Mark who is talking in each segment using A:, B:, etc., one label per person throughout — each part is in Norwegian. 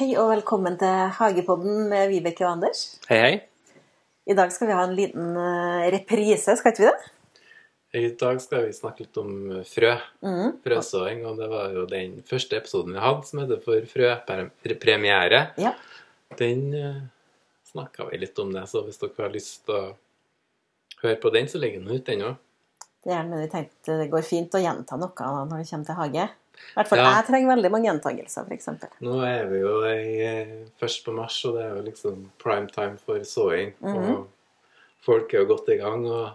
A: Hei og velkommen til Hagepodden med Vibeke og Anders.
B: Hei, hei.
A: I dag skal vi ha en liten eh, reprise, skal ikke vi det?
B: I dag skal vi snakke litt om frø. Mm. Frøsåing. Og det var jo den første episoden jeg hadde som heter for frøpremiere.
A: Ja.
B: Den uh, snakka vi litt om det, så hvis dere har lyst til å høre på den, så ligger den ute ennå.
A: Det er men vi tenkte det går fint å gjenta noe når vi kommer til hage. I hvert fall
B: Ja.
A: jeg trenger veldig mange gjentagelser, f.eks.
B: Nå er vi jo i, eh, først på mars, og det er jo liksom prime time for såing. Og folk er jo godt i gang. og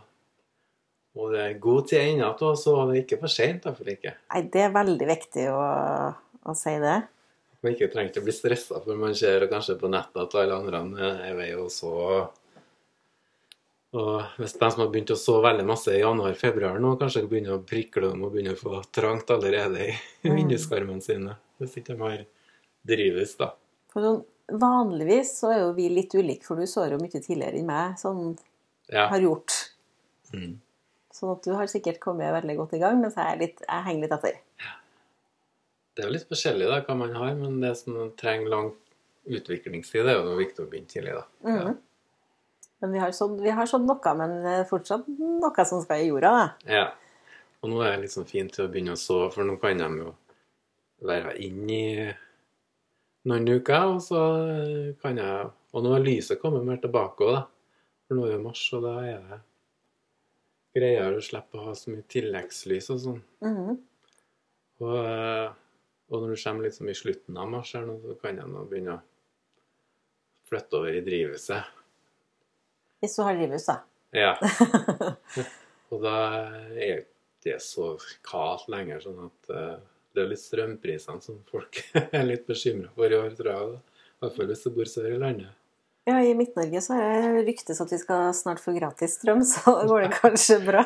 B: og det er god tid ennå, til, så det er ikke for seint. Man
A: Nei, det er veldig viktig å, å si det.
B: ikke trenger å bli stressa, for man ser kanskje på nettet at alle andre er ved å så Og hvis de som har begynt å så veldig masse i januar-februar nå, kanskje begynner å prikle om og begynner å få trangt allerede i vinduskarmene sine. Hvis ikke de har drivhus, da.
A: For sånn, vanligvis så er jo vi litt ulike, for du sår jo mye tidligere enn meg, sånn
B: Ja.
A: har gjort.
B: Mm.
A: Sånn at du har sikkert kommet veldig godt i gang, mens jeg, er litt, jeg henger litt etter.
B: Det er jo litt forskjellig da, hva man har, men det som trenger lang utviklingstid, det er jo viktig å begynne tidlig. da.
A: Mm. Men vi har, sådd, vi har sådd noe, men det er fortsatt noe som skal i jorda, da.
B: Ja. ja. Og nå er det liksom fint til å begynne å så, for nå kan de jo være inn i noen uker, og så kan jeg Og nå har lyset kommet mer tilbake òg, da. For nå er det mars, og da er det greiere å slippe å ha så mye tilleggslys og sånn.
A: Mhm.
B: Og, eh, og når du kommer liksom i slutten av mars, her nå, så kan jeg nå begynne å flytte over i drivhuset.
A: Hvis du har drivhus, da.
B: Ja. Og da er det så kaldt lenger, sånn at eh, det er litt strømprisene som folk er litt bekymra for i år, tror jeg. da. I hvert fall hvis du bor sør i landet.
A: Ja, I Midt-Norge så er det ryktes at vi skal snart få gratis strøm, så går det kanskje bra.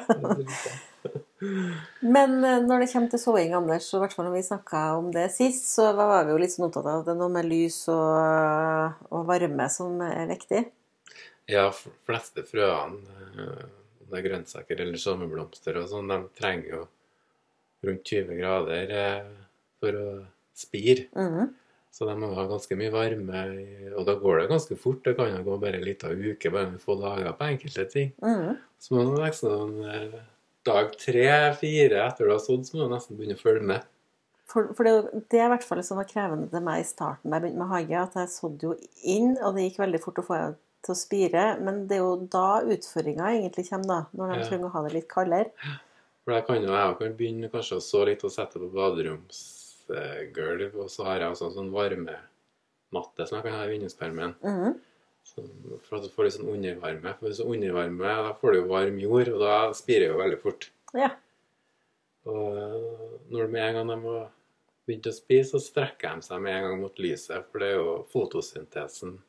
A: Men eh, når det kommer til såing, Anders, og i hvert fall når vi snakka om det sist, så var vi jo litt sånn opptatt av at det er noe med lys og, og varme som er viktig.
B: Ja, f- fleste frøene, eh, om det er grønnsaker eller sommerblomster og sånn, de trenger jo rundt 20 grader eh, for å spire.
A: Mhm.
B: Så de må ha ganske mye varme, i- og da går det ganske fort. Det kan jo gå bare en liten uke bare vi får laga på enkelte ting.
A: Mhm.
B: Så må du liksom eh, dag tre-fire etter du har sådd, så må du nesten begynne å følge med.
A: For, for det, det er i hvert fall det som var krevende til meg i starten da jeg begynte med hage, at jeg sådde jo inn, og det gikk veldig fort å få det til å spire. Men det er jo da utføringa egentlig kommer, da. Når de
B: Ja.
A: trenger å ha det litt kaldere.
B: For da kan jo jeg kan begynne kanskje å så litt og sette på baderomsgulv, og så har jeg også en sånn varmematte som jeg kan ha i vinduskarmen.
A: Mhm.
B: Sånn, For at du får litt sånn undervarme. For hvis du undervarme, da får du jo varm jord, og da spirer det jo veldig fort.
A: Ja.
B: Og eh, når de med en gang de har begynt å spire, så strekker de seg med en gang mot lyset, for det er jo fotosyntesen.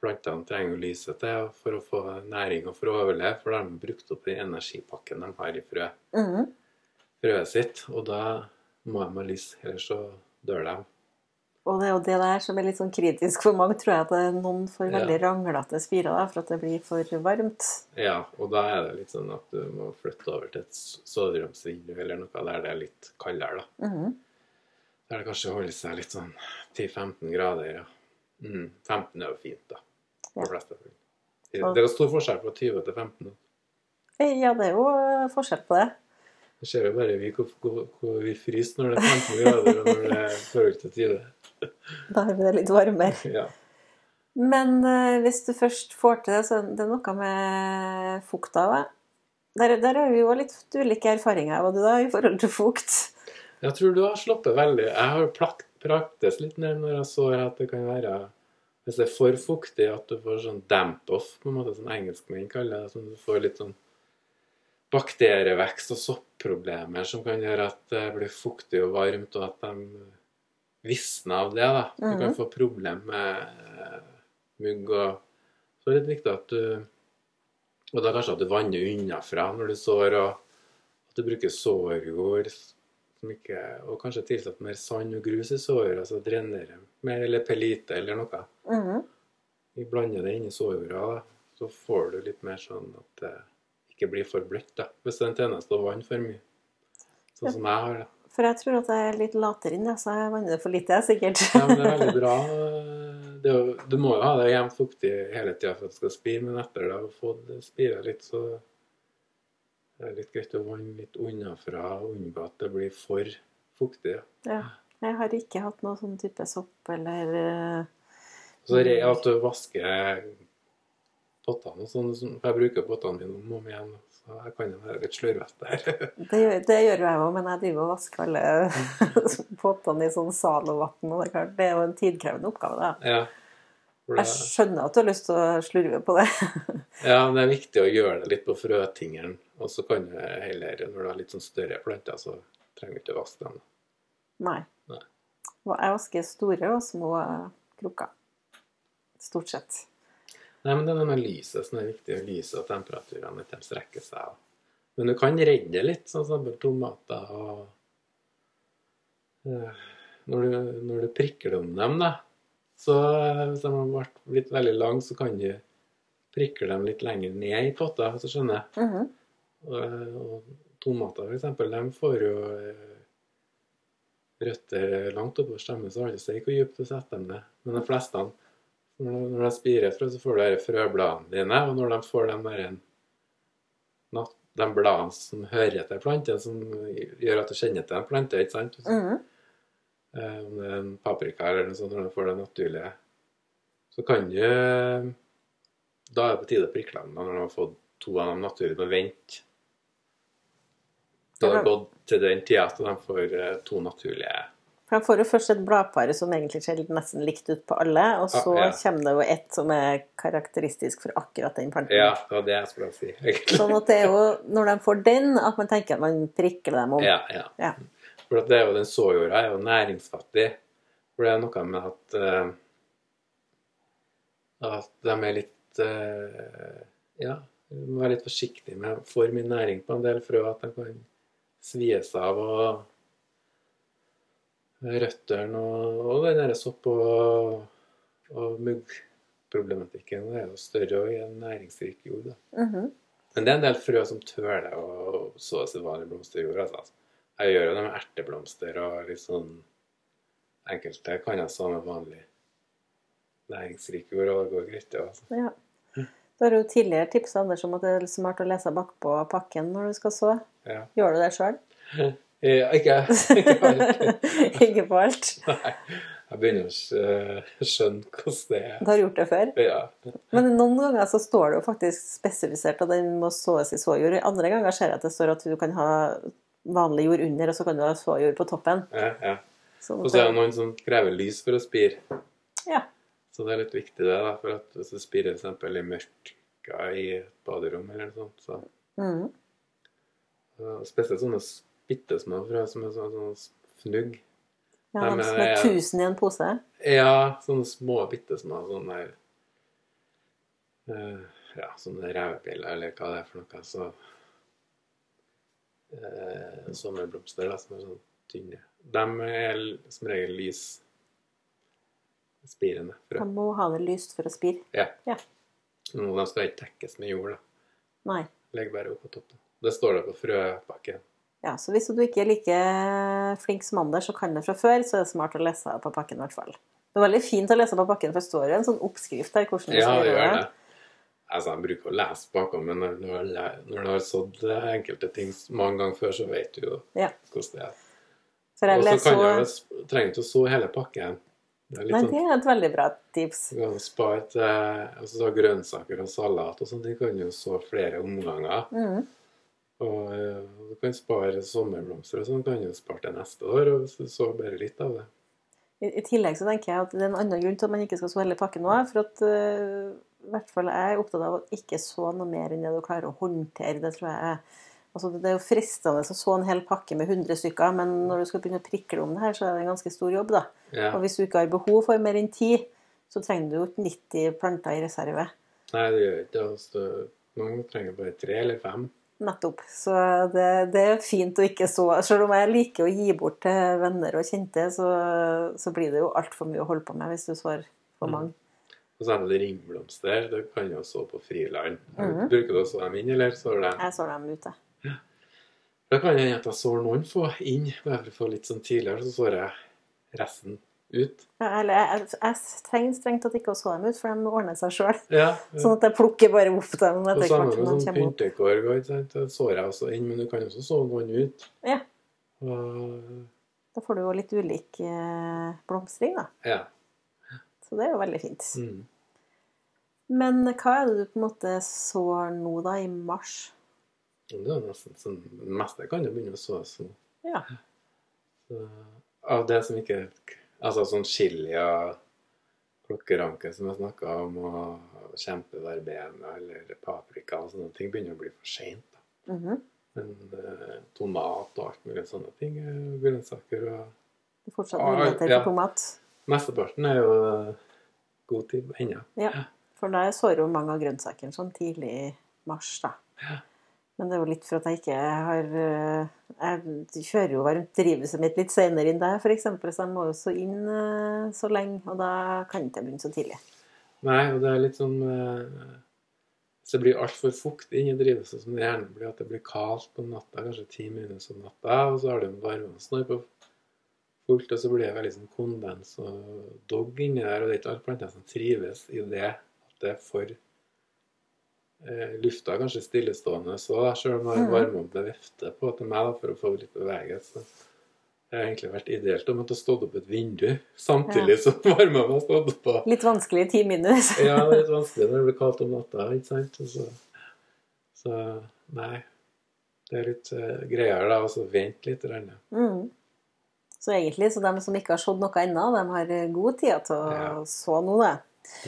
B: Plantene trenger jo lyset til for å få næring og for å overleve, for da har de brukt opp den energipakken de har i frø,
A: Mhm.
B: frøet sitt. Og da må de ha lys, ellers så dør de.
A: Og det er jo det der som er litt sånn kritisk for mange, tror jeg, at det er noen får
B: Ja.
A: veldig ranglete spirer da, for at det blir for varmt.
B: Ja, og da er det litt sånn at du må flytte over til et s- soveromsvindu eller noe der det er litt kaldere, da.
A: Mhm.
B: Der det kanskje holder seg litt sånn 10-15 grader, ja. Mm, 15 er jo fint, da.
A: Ja.
B: For de fleste. Det er jo stor forskjell fra 20 til 15. da.
A: Eh, Ja, det er jo eh, forskjell på det.
B: Det ser jo bare vi hvor, hvor, hvor vi fryser når det er 15 grader, og når det er forhold til 20.
A: Da er det litt varmere.
B: Ja.
A: Men eh, hvis du først får til det, så er det noe med fukta òg. Der, der har vi jo litt ulike erfaringer, hva du da, i forhold til fukt.
B: Jeg tror du har sluppet veldig. Jeg har plakt, praktes litt ned når jeg så at det kan være Hvis det er for fuktig, at du får sånn damp-off, på en måte, som engelskmenn kaller det. Sånn at du får litt sånn bakterievekst og soppproblemer som kan gjøre at det blir fuktig og varmt, og at de visner av det. da. Du kan
A: Mhm.
B: få problemer med eh, mugg og Så er det litt viktig at du Og da kanskje at du vanner unnafra når du sår, og at du bruker sårjord som ikke, og kanskje tilsatt mer sand og grus i såret, altså drenere mer, eller pelite eller noe.
A: Mhm.
B: Vi blander det inn i sårjorda, da. så får du litt mer sånn at det ikke blir for bløtt. da, Hvis det er en tjeneste å vann for mye. Sånn som jeg har. da.
A: For jeg tror at jeg er litt latere inn, jeg, så jeg vanner for lite, jeg, sikkert.
B: Ja, men det er veldig bra. Det er jo, du må jo ha det jevnt fuktig hele tida for at det skal spire, men etter det har fått spira litt, så det er litt greit å vanne litt unnafra og unngå at det blir for fuktig. ja.
A: Ja. Jeg har ikke hatt noen sånn type sopp eller eh,
B: Så det er at du vasker pottene og sånn. sånn- for Jeg bruker pottene mine om og om igjen, så jeg kan jo være litt slørvete her.
A: Det gjør, det gjør jo jeg òg, men jeg driver og vasker alle pottene i sånn Zalo-vann. Og det er klart, det er jo en tidkrevende oppgave, da.
B: Ja. For
A: Jeg
B: det,
A: skjønner at du har lyst til å slurve på det.
B: ja, men det er viktig å gjøre det litt på frøtingeren. Og så kan du heller, når du har litt sånn større planter, så trenger du ikke vaske dem.
A: Nei.
B: Nei.
A: Og Jeg vasker store og små eh, krukker. Stort sett.
B: Nei, men det er det med lyset som er viktig. Lyset og temperaturene, at de strekker seg. Men du kan redde det litt, sånn som tomater og eh, når du, når du prikker om dem, da, så eh, hvis de har vært blitt veldig lang, så kan du prikle dem litt lenger ned i potta, hvis du skjønner.
A: Mhm.
B: Og, Eh, og tomater, for eksempel, de får jo eh, røtter langt oppover stemmen, så har det seg hvor dypt du setter dem ned. Men de fleste, når de- når de spirer frø, så får du disse frøbladene dine, og når de får den der natt- de bladene som hører til planten, som gjør at du kjenner til en plante, ikke sant?
A: Mhm.
B: Eh, om det er en paprika eller noe sånt, når du får det naturlige, så kan du Da er det på tide å prikle dem da, når du har fått to av dem naturlige, og vente. Da har det gått til den tida at de får eh, to naturlige
A: For Jeg får jo først et bladpar som egentlig ser litt- nesten likt ut på alle, og så
B: Ja, ja.
A: kommer det jo ett som er karakteristisk for akkurat den planten.
B: Ja, det var det jeg skulle si, egentlig.
A: Sånn at det er jo når de får den, at man tenker at man prikker dem om.
B: Ja, ja.
A: Ja.
B: For at det er jo den såjorda er jo næringsfattig. For det er noe med at eh, at de er litt eh, ja, du må være litt forsiktig med for mye næring på en del frø, at de kan svies av og røttene og, og den der sopp- og, og muggproblematikken er jo større og i en næringsrik jord. da.
A: Mhm.
B: Men det er en del frø som tøler å så seg vanlig blomsterjord. Altså. Jeg gjør jo det med erteblomster og litt sånn Enkelte kan jeg så med vanlig næringsrik jord, og det går greit, det. Altså.
A: ja. Du har jo tidligere tipsa Anders om at det er smart å lese bakpå pakken når du skal så.
B: Ja.
A: Gjør du det sjøl?
B: Eh, Ikke, ikke alt.
A: Ikke på alt.
B: Nei. Jeg begynner å skjø- skjønne hvordan det er.
A: Du har gjort det før.
B: Ja.
A: Men noen ganger så står det jo faktisk spesifisert at den må såes i såjord. Andre ganger ser jeg at det står at du kan ha vanlig jord under, og så kan du ha såjord på toppen.
B: Ja, ja.
A: Sånn
B: Og
A: at
B: så er det
A: det,
B: noen som krever lys for å spire.
A: ja.
B: Så det er litt viktig, det. da, for at Hvis du spirer for eksempel i mørka i et baderom eller noe sånt, så
A: Mhm.
B: Ja, Spesielt sånne bittesmå frø som er sånn, sånn fnugg.
A: ja
B: Nei,
A: de
B: men
A: som er
B: jeg-
A: tusen i en pose.
B: Ja, sånne små bittesmå sånne her eh, Ja, sånne revepiller eller hva det er for noe. Så eh, Sommerblomster da, som er sånn tynne. De er l- som regel lys spirende
A: De
B: frø.
A: må ha det lyst for å spire.
B: Ja.
A: Ja.
B: Noen av dem skal ikke tekkes med jord. da.
A: Nei.
B: Legg bare opp på toppen. Det står det på frøpakken.
A: Ja, så hvis du ikke er like flink som Anders og kan det fra før, så er det smart å lese på pakken i hvert fall. Det er veldig fint å lese på pakken, for det står jo en sånn oppskrift der. hvordan du
B: Ja,
A: skal
B: det
A: gjøre
B: gjør det. Altså, jeg bruker å lese bakom, men når, når, jeg læ- når du har sådd enkelte ting mange ganger før, så vet du jo
A: Ja.
B: hvordan det er.
A: For jeg
B: Og så
A: leser
B: kan
A: jo-
B: jeg jo s- trenger ikke å så hele pakken. Det er litt
A: Nei,
B: sånn
A: det er et veldig bra tips.
B: du kan spare til altså, så grønnsaker og salat og sånn. De kan jo så flere omganger.
A: Mhm.
B: Og eh, du kan spare sommerblomster og sånn. kan du jo spare til neste år. Og hvis du så bare litt av det.
A: I, I tillegg så tenker jeg at det er en annen grunn til at man ikke skal så hele pakken nå. For at øh, i hvert fall jeg er opptatt av å ikke så noe mer enn det du klarer å håndtere. Det tror jeg er Altså, det er jo fristende å så en hel pakke med 100 stykker, men når du skal begynne å prikle om det her, så er det en ganske stor jobb, da.
B: Ja.
A: Og hvis du ikke har behov for mer enn 10, så trenger du jo ikke 90 planter i reserve.
B: Nei, det gjør ikke det. Altså, noen trenger bare tre eller fem.
A: Nettopp. Så det, det er fint å ikke så Selv om jeg liker å gi bort til venner og kjente, så, så blir det jo altfor mye å holde på med hvis du sår for
B: Mm.
A: mange.
B: Og så er det ringblomster. Det kan
A: Mm.
B: jo så på friland. Bruker du å så dem inn, eller sår du dem?
A: Jeg sår dem ute.
B: Da kan jeg hende at jeg sår noen få inn, bare for å få litt sånn tidligere, så sår jeg resten ut.
A: Ja, eller jeg, jeg, jeg trenger strengt tatt ikke å så dem ut, for de ordner seg sjøl.
B: Ja,
A: Sånn at jeg plukker bare opp dem
B: Og
A: etter
B: samme
A: hvert
B: med
A: som de
B: sånn
A: kommer opp.
B: pyntekorv. ikke sant? Det sår jeg også inn, men du kan også så noen ut.
A: Ja.
B: Og,
A: Da får du jo litt ulik eh, blomstring, da.
B: ja.
A: Så det er jo veldig fint.
B: Mm.
A: Men hva er det du på en måte sår nå, da, i mars?
B: Men Det er nesten sånn Det meste kan jo begynne å sås nå.
A: Ja.
B: Så, av det som ikke Altså sånn chili og klokkeranke som jeg snakka om, og kjempeverbena eller paprika og sånne ting, begynner å bli for seint. da.
A: Mhm.
B: Men eh, tomat og alt mulig sånne ting, eh, grønnsaker og
A: Det er fortsatt
B: Ah,
A: muligheter
B: ja.
A: for tomat.
B: Mesteparten er jo eh, god tid ennå.
A: Ja. For da sår jo mange av grønnsakene sånn tidlig i mars, da.
B: Ja.
A: Men det er jo litt for at jeg ikke har eh, Jeg kjører jo varmt drivhuset mitt litt senere enn deg, f.eks., så jeg må jo så inn eh, så lenge, og da kan jeg ikke begynne så tidlig.
B: Nei, og det er litt sånn eh, Hvis det blir altfor fukt inni drivhuset, som det gjerne blir, at det blir kaldt på natta, kanskje ti minus om natta, og så har du en varmeovn på fullt, og så blir det veldig sånn kondens og dogg inni der, og det er ikke alle planter som trives i det at det er for eh, lufta er kanskje stillestående så da, selv om jeg
A: Mhm.
B: har varmeovn til vifte på til meg da, for å få litt bevegelse. Det har egentlig vært ideelt om at det har stått opp et vindu samtidig som varmeovnen har stått på.
A: Litt vanskelig i ti minus.
B: Ja, det er litt vanskelig når det blir kaldt om natta, ikke sant? Og Så, så nei. Det er litt eh, greier da, altså vent litt. Renne.
A: Mm. Så egentlig, så de som ikke har sett noe ennå, de har eh, god tid til å
B: Ja.
A: så nå, det.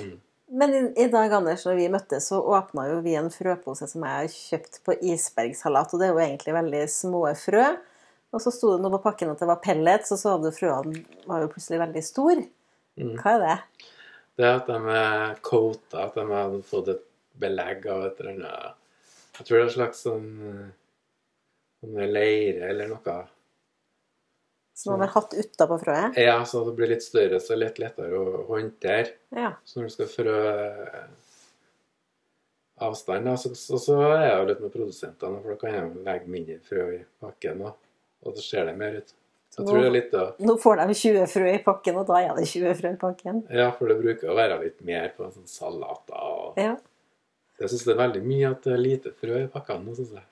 B: Mm.
A: Men i, i dag, Anders, når vi møttes, så åpna jo vi en frøpose som jeg har kjøpt på isbergsalat, og det er jo egentlig veldig små frø. Og så sto det noe på pakken at det var pellets, og så hadde frøene var jo plutselig veldig store.
B: Mm.
A: Hva er det?
B: Det at de er coata, at de har fått et belegg av et eller annet Jeg tror det er en slags sånn, eh, sånn leire eller noe.
A: Som
B: Mm.
A: man har hatt utapå frøet?
B: Ja, så det blir litt større, så litt lettere å håndtere.
A: Ja.
B: Så når du skal frø eh, avstand, da, så, så, så er jeg jo litt med produsentene, for da kan jeg jo legge mindre frø i pakken, og, og så ser det mer ut. Så jeg tror det er litt da,
A: Nå får de 20 frø i pakken, og da er det 20 frø i pakken.
B: ja, for det bruker å være litt mer på en sånn salat, da, og
A: Ja.
B: jeg synes det er veldig mye at det er lite frø i pakken, nå, synes jeg.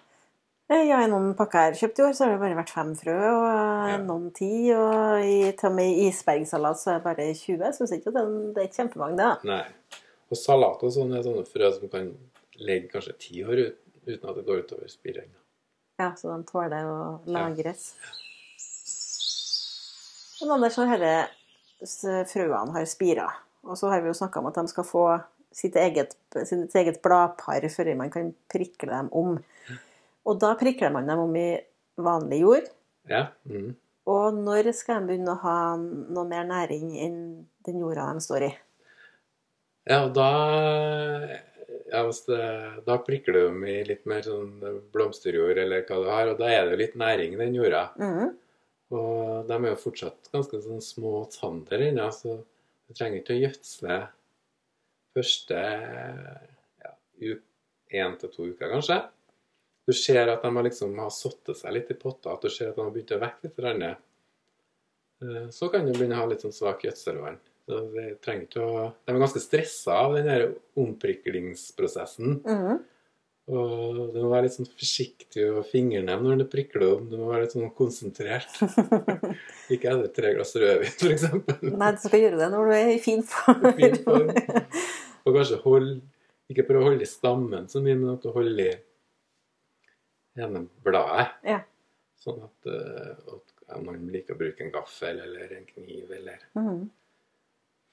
A: Eh, Ja, i noen pakker jeg har kjøpt i år, så har det bare vært fem frø, og eh,
B: Ja.
A: noen ti. Og i, til og med i isbergsalat så er det bare 20. Jeg syns ikke at den- det er kjempemange, det. da.
B: Nei. Og salat og sånn er sånne frø som kan ligge kanskje ti år ut, uten at det går utover spiren.
A: Ja, så de tåler å lagres. Men Anders, når disse frøene har spira, og så har vi jo snakka om at de skal få sitt eget, sitt eget bladpar før man kan prikle dem om. Og da prikler man dem om i vanlig jord.
B: Ja, mm.
A: Og når skal de begynne å ha noe mer næring enn den jorda de står i?
B: Ja, og da, ja, hvis det, da prikker du dem i litt mer sånn blomsterjord eller hva du har, og da er det jo litt næring i den jorda.
A: Mhm.
B: Og de er jo fortsatt ganske sånn små og tander ennå, så du trenger ikke å gjødsle første ja, u- en til to uker, kanskje. Du ser at de har liksom har satt seg litt i potta, at du ser at de har begynt å vekke litt. Rande. Så kan du begynne å ha litt sånn svak gjødselvann. Så de, trenger ikke å, de er ganske stressa av den her ompriklingsprosessen.
A: Mhm.
B: Og du må være litt sånn forsiktig og fingernem når du prikker det om. Du må være litt sånn konsentrert. Ikke etter tre glass rødvin, for eksempel.
A: Nei, du skal gjøre det når du er i fin form.
B: Fin form. Og kanskje hold, ikke prøve å holde i stammen så mye, men at du holder i ene bladet.
A: Ja.
B: Sånn at, eh, at ja, man liker å bruke en gaffel eller en kniv eller
A: Mhm.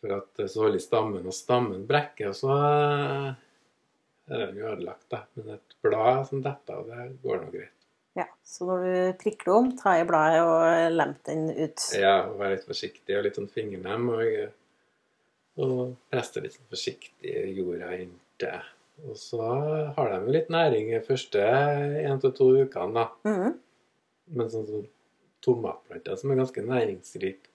B: For at eh, så holder stammen, og stammen brekker, og så eh, er den jo ødelagt, da. Men et blad som dette, det går nå greit.
A: Ja, Så når du prikker om, ta i bladet og lemp den ut.
B: Ja, og være litt forsiktig og litt sånn fingernem. Og, og presse litt sånn forsiktig i jorda inntil. Og så har de jo litt næring de første én til to ukene, da.
A: Mhm.
B: Men sånn som tomatplanter, som er ganske næringsrike,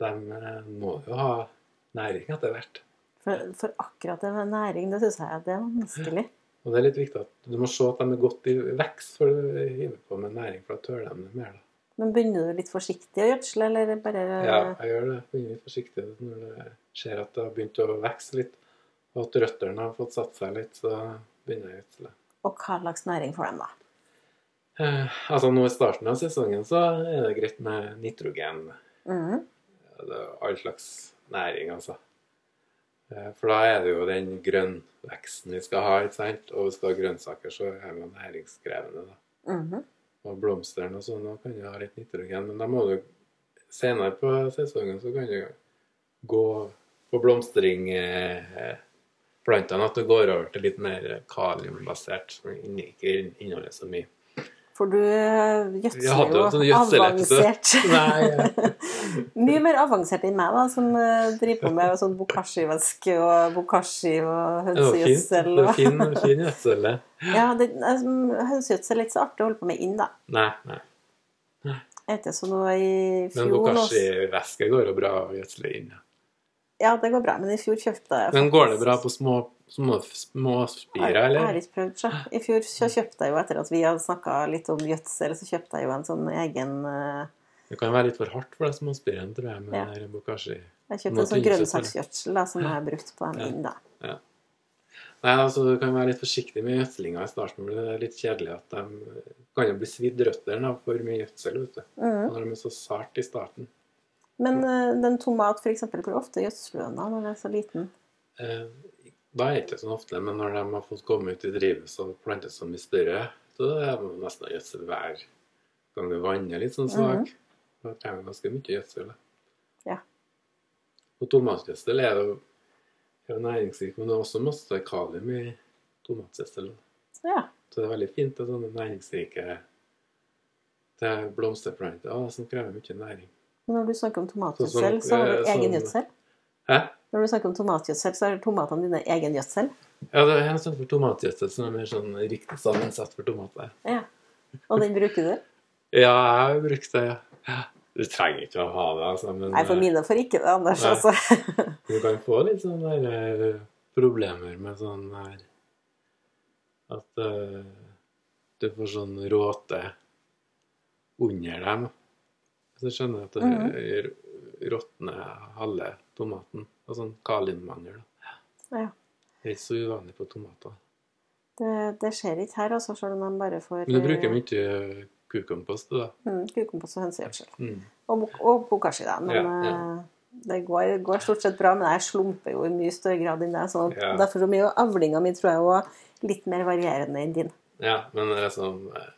B: de eh, må jo ha næring etter hvert.
A: For, for akkurat det med næring, det syns jeg det er vanskelig.
B: Og det er litt viktig at du må se at de er godt i vekst før du hiver på med næring, for da tør de det mer. da.
A: Men begynner du litt forsiktig å gjødsle, eller bare
B: Ja, jeg gjør det. Jeg Begynner litt forsiktig når jeg ser at det har begynt å vokse litt, og at røttene har fått satt seg litt, så begynner jeg å gjødsle.
A: Og hva slags næring får de, da?
B: Eh, altså nå i starten av sesongen så er det greit med nitrogen.
A: Mhm.
B: Det er all slags næring, altså. Eh, For da er det jo den grønnveksten vi skal ha, ikke sant? Og hvis du har grønnsaker, så er det jo næringskrevende, da.
A: Mhm.
B: Og blomstene og sånn, da kan du ha litt nitrogen. Men da må du senere på sesongen så kan du gå på blomstringplantene, at du går over til litt mer kaliumbasert, som inn- ikke inneholder så mye.
A: For du eh,
B: Jeg hadde jo en
A: gjødsler
B: sånn
A: jo
B: gjødselepisode.
A: avansert.
B: Nei, eh, jeg-
A: Mye mer avansert enn meg, da, som eh, driver på med sånn bokashi-væske og bokashi og
B: det var fint. Det
A: hønsegjødsel.
B: var
A: og-
B: fin, fin gjødsel.
A: Ja, det- altså, hønsegjødsel er litt så artig å holde på med inn, da.
B: Nei, nei.
A: Jeg vet jo så noe i
B: Men
A: fjor nå,
B: bokashi-væske går jo bra å gjødsle inn. ja.
A: Ja, det går bra, men i fjor kjøpte jeg
B: Men går det bra på små, små, små spirer,
A: Jeg har
B: eller?
A: ikke prøvd, sjø. I fjor så kjøpte jeg jo, etter at vi hadde snakka litt om gjødsel, så kjøpte jeg jo en sånn egen eh,
B: Det kan være litt for hardt for de små spirene, tror jeg, med
A: Ja.
B: den her bokashi.
A: Jeg kjøpte
B: Nå
A: en sånn
B: tynnes det til.
A: grønnsaksgjødsel da, som jeg har brukt på dem
B: Ja.
A: inn, da.
B: Nei, altså Du kan være litt forsiktig med gjødslinga i starten. for Det er litt kjedelig at de kan jo bli svidd røttene av for mye gjødsel. vet du.
A: Mhm.
B: Når de er så sarte i starten.
A: Men eh, den tomat, for eksempel, hvor ofte gjødsler du den da når den er så liten?
B: Eh, Da er det ikke sånn ofte, men når de har fått komme ut i drivhuset og plantes så mye større, så er det nesten å gjødsel hver gang du vanner litt sånn svak. Da trenger du ganske mye gjødsel. da.
A: Ja.
B: Og tomatgjødsel er jo er jo næringsrikt, men det er også masse kalium i tomatgjødsel. da.
A: Ja.
B: Så det er veldig fint det er sånne næringsrike det er blomsterplanter ah, som krever mye næring.
A: Men når du snakker om tomatgjødsel,
B: Sånn som-
A: så har
B: eh,
A: du egen
B: sånn-
A: gjødsel?
B: Hæ?
A: Når du snakker om tomatgjødsel, så er tomatene dine egen gjødsel?
B: Ja, det er en sånn for tomatgjødsel som er mer sånn riktig sammensatt for tomater.
A: Ja. Og den bruker du?
B: Ja, jeg har brukt det. ja. Du trenger ikke å ha det, altså, men
A: Nei, for
B: eh,
A: mine får ikke det, Anders,
B: Nei.
A: altså.
B: du kan få litt sånne der, eh, problemer med sånn her At eh, du får sånn råte under dem. Så skjønner jeg at det råtner halve tomaten. Og sånn kaliummangel. da.
A: Ja.
B: Det er ikke så uvanlig på tomater.
A: Det, det skjer ikke her, altså, selv om de bare får
B: Men du bruker mye kukompost, du, da.
A: Mm, kukompost og hønsegjødsel.
B: Mm.
A: Og, bok- og bokashi, da. Men
B: Ja, ja.
A: eh, det går, går stort sett bra. Men jeg slumper jo i mye større grad enn deg. Så
B: Ja.
A: derfor så blir jo avlinga mi tror jeg også litt mer varierende enn din.
B: Ja, men det er sånn eh,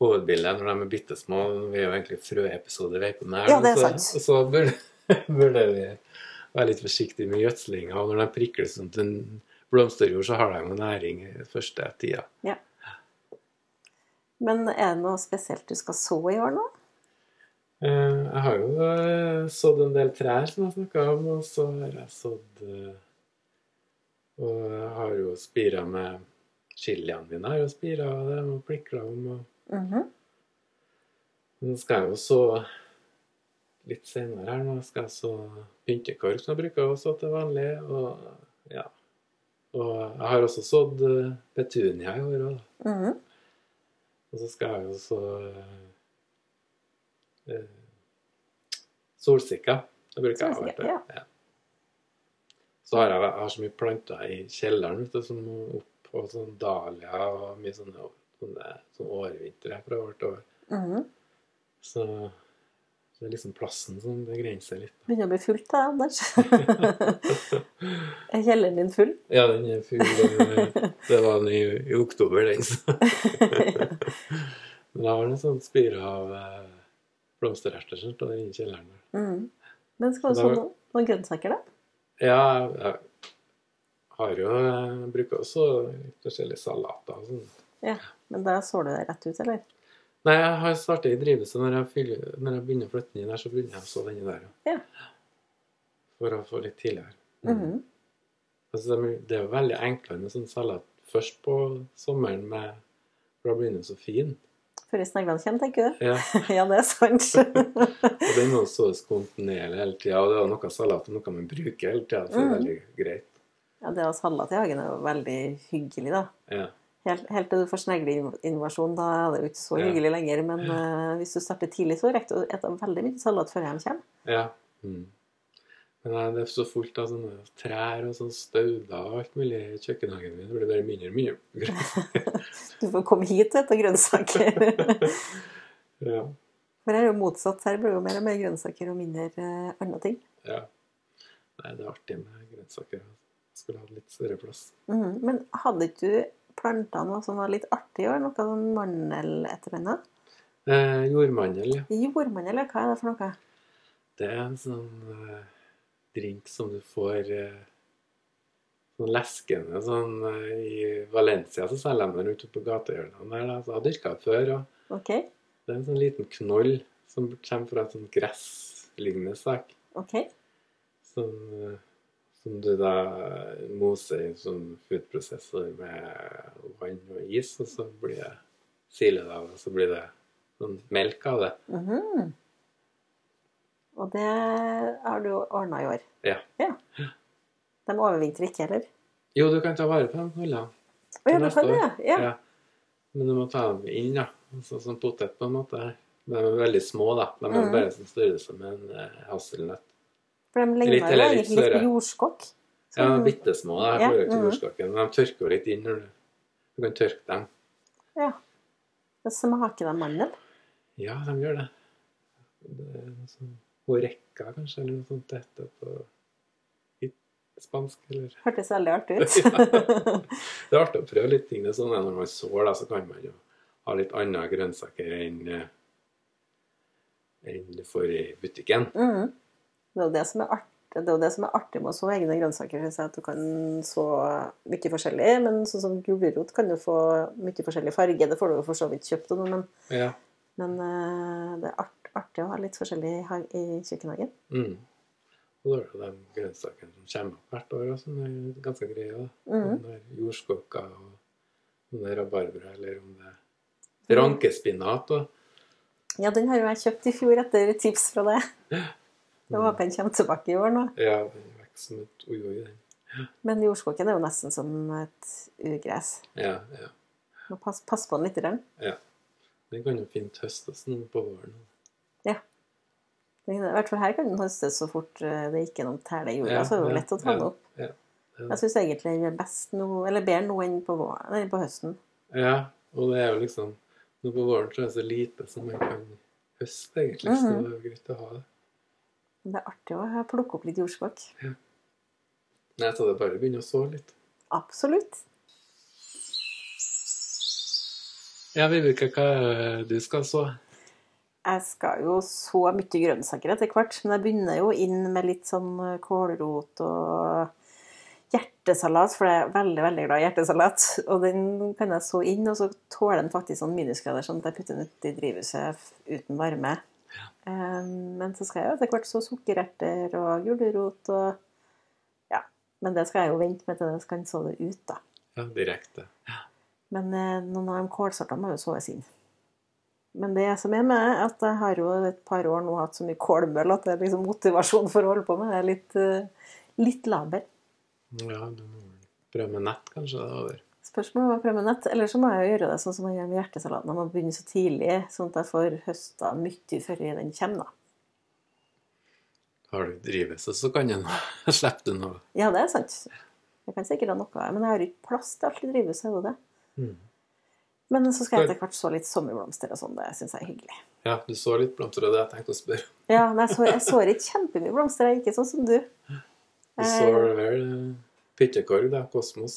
B: Hovedbildet når de er bitte små Vi er jo egentlig frøepisoder vi er på den her.
A: Ja, det er
B: men
A: sant.
B: Så, så burde, burde vi være litt forsiktige med gjødslinga. Og når de prikler sånn til en blomsterjord, så har de jo næring i første tida.
A: Men er det noe spesielt du skal så i år nå?
B: Eh, Jeg har jo eh, sådd en del trær, som jeg snakka om, og så har jeg sådd eh, Og jeg har jo spira med chiliene mine. Jeg har jo spira av dem og plikla om. og
A: Mhm.
B: Men Nå skal jeg jo så litt senere her, nå skal jeg så pyntekorv, som jeg bruker å så til vanlig. Og ja. Og jeg har også sådd eh, petunia i år òg, da.
A: Mhm.
B: Og så skal jeg jo så eh, eh, Solsikka. Det bruker jeg å
A: Solsikker,
B: være til. Ja. Så har jeg, jeg har så mye planter i kjelleren, vet du, som må opp og sånn dahlia og mye sånne, sånne, sånne årvintre fra år til år.
A: Mhm.
B: Så det er liksom plassen som begrenser litt.
A: Begynner å bli fullt, da, Anders. er kjelleren din full?
B: Ja, den er full. eh, Det var den i, i oktober, den. så. Men jeg har en sånn spire av eh, blomstererter som står inne i kjelleren. der.
A: Mhm. Men skal du
B: Så
A: så
B: da-
A: noen, noen grønnsaker, da?
B: Ja, jeg har jo eh, bruker også forskjellige salater og sånn.
A: Men da sår du det rett ut, eller?
B: Nei, jeg har startet i drivhuset. Når, jeg fyller- når jeg begynner å flytte den inn der, så begynner jeg å så denne der.
A: Ja.
B: For å få litt tidligere.
A: Mhm.
B: Altså, det er- det er jo veldig enklere med sånn salat først på sommeren, med, for da blir den så fin.
A: Før sneglene kommer, tenker
B: Ja,
A: du? ja, det er sant.
B: og den må sås kontinuerlig hele tida. Og det er jo noe salat og noe man bruker hele tida, så det er
A: Mm.
B: veldig greit.
A: Ja, det å ha salat i hagen er jo veldig hyggelig, da.
B: Ja.
A: Helt, helt til du får snegleinvasjon, da er det jo ikke så
B: Ja.
A: hyggelig lenger. Men eh, hvis du starter tidlig, så rekker du å spise veldig mye salat før de kommer.
B: ja. Mm. Men nei, det er så fullt av sånne trær og sånne stauder og alt mulig i kjøkkenhagen min. Det blir bare mindre og mindre.
A: Du får komme hit og spise grønnsaker.
B: ja.
A: For her er jo motsatt. Her blir det jo mer og mer grønnsaker og mindre eh, andre ting.
B: ja. Nei, det er artig med grønnsaker. Jeg skulle hatt litt større plass.
A: Mhm. Men hadde ikke du planta noe som var litt artig i år? Noe sånn mandel etter henne?
B: Eh, jordmandel, ja.
A: Jordmandel, ja, hva er det for noe?
B: Det er en sånn eh, drink som du får eh, sånn leskende sånn eh, I Valencia så selger de den ute på gatehjørnene der. da, så Jeg har dyrka den før. og
A: Ok,
B: Det er en sånn liten knoll som kommer fra en sånn gresslignende sak.
A: ok.
B: Som, eh, som du da moser i en sånn foodprosessor med vann og is, og så blir det silet av, og så blir det sånn melk av det.
A: Mhm. Og det har du ordna i år?
B: Ja.
A: De overvintrer ikke heller?
B: Jo, du kan ta vare på den knollene.
A: Å ja,
B: Til
A: du
B: neste
A: kan det? Ja.
B: Ja. Men du må ta dem inn, da. Så, som potet, på en måte. De er veldig små, da. De er
A: Mhm.
B: bare sånn størrelse med en eh, hasselnøtt.
A: For de
B: Litt-
A: ligner jo
B: eller litt
A: egentlig litt på
B: større.
A: jordskokk.
B: Ja,
A: Sånn-
B: bitte små. da,
A: Ja,
B: Jeg får jo ikke
A: mhm.
B: jordskokken. Men de tørker jo litt inn når du Du kan tørke dem.
A: Men Smaker de mandel?
B: Ja, de gjør det. Det er noe sånn horeca, kanskje, eller noe sånt det heter på i spansk, eller
A: Hørtes veldig artig
B: Ja.
A: ut.
B: Det er artig å prøve litt ting. Det er sånn at Når man sår, da, så kan man jo ha litt andre grønnsaker enn eh, enn du får i butikken.
A: Mhm. Det er jo det som er artig. Det er jo det som er artig med å så egne grønnsaker. synes jeg, At du kan så mye forskjellig. Men sånn som gulrot kan du få mye forskjellig farge. Det får du jo for så vidt kjøpt, og noe, men,
B: Ja.
A: men eh, det er art, artig å ha litt forskjellig i ha- i kjøkkenhagen.
B: Mm. Og da er det de grønnsakene som kommer opp hvert år, og som er ganske greie. da.
A: Mhm.
B: Om det er jordskokker, og om det er rabarbra, eller om det er rankespinat. Og...
A: Ja, den har jo jeg kjøpt i fjor etter tips fra deg. Jeg
B: Mm.
A: håper den kommer tilbake i år nå.
B: Ja, den vokser som et ojoi, den.
A: Men jordskokken er jo nesten som et ugress.
B: Ja, ja.
A: Må passe pass på den litt. grann.
B: Den kan jo fint høstes nå på våren.
A: I hvert fall her kan den høstes så fort eh, det ikke er noen tæle i jorda.
B: Ja,
A: så er det
B: ja,
A: jo lett å ta den
B: ja,
A: opp.
B: ja, ja.
A: Jeg syns egentlig den er best nå, eller bedre nå enn på, våren, eller på høsten.
B: Ja, og det er jo liksom Nå på våren så er det så lite som man kan høste, egentlig. Så
A: Mhm.
B: det er jo greit å ha det.
A: Men det er artig å plukke opp litt jordskokk.
B: Nei, så det er bare å begynne å så litt.
A: Absolutt.
B: Ja, Vibeke, hva er det du skal så?
A: Jeg skal jo så mye grønnsaker etter hvert, men jeg begynner jo inn med litt sånn kålrot og hjertesalat, for jeg er veldig, veldig glad i hjertesalat. Og den kan jeg så inn, og så tåler den faktisk sånn minusgrader, sånn at jeg putter den ut i drivhuset f- uten varme. Eh, Men så skal jeg jo etter hvert så sukkererter og gulrot og Ja. Men det skal jeg jo vente med til jeg kan så det ut, da.
B: Ja, direkte.
A: Men eh, noen av de kålsortene må jo såes inn. Men det som er med, er at jeg har jo et par år nå hatt så mye kålmøll at det er liksom motivasjon for å holde på med det er litt, eh, litt laber.
B: Ja, du må vel prøve med nett, kanskje. det er over.
A: Spørsmålet var prøve nett. Eller så må jeg jo gjøre det sånn som jeg gjør med hjertesalaten. Jeg må begynne så tidlig, sånn at jeg får høsta mye før den kommer, da.
B: Har du drivhuset, så kan jeg nå slippe det nå.
A: Ja, det er sant. Jeg kan sikkert ha noe, men jeg har ikke plass til alt i drivhuset. er det det?
B: Mm.
A: Men så skal jeg etter hvert så litt sommerblomster og sånn. Det syns jeg er hyggelig.
B: Ja, du så litt blomster, og det jeg tenkte å spørre.
A: Ja, men jeg så, jeg så ikke kjempemye blomster. Jeg er ikke sånn som du.
B: Du
A: Eh,
B: så vel eh, pittekorg, da, kosmos.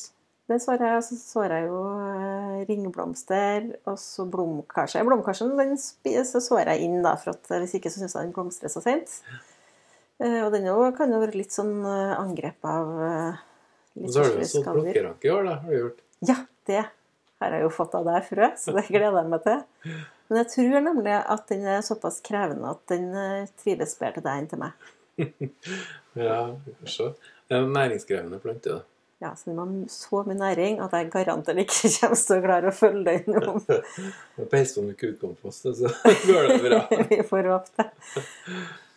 A: Det svarer jeg, og altså, så svarer jeg jo eh, ringblomster, og så blomkarse. Blomkarsen den spi- så svarer jeg inn, da, for at eh, hvis ikke så syns jeg den blomstrer så sent. Eh, Og den jo, kan jo være litt sånn eh, angrep av eh,
B: Og
A: litt
B: så har du jo
A: forskjellige
B: sådd
A: skadedyr.
B: plukkeranke i år, da, har du gjort.
A: Ja, det har jeg jo fått av deg, frø, så det gleder jeg meg til. Men jeg tror nemlig at den er såpass krevende at den eh, trives bedre til deg enn til meg.
B: Ja, vi får se. Det er en næringskrevende plante, da.
A: Ja, så den har så mye næring at jeg garantert ikke kommer til å klare å følge den om
B: Og peis på med kukompost, så altså. går det bra.
A: vi får håpe det.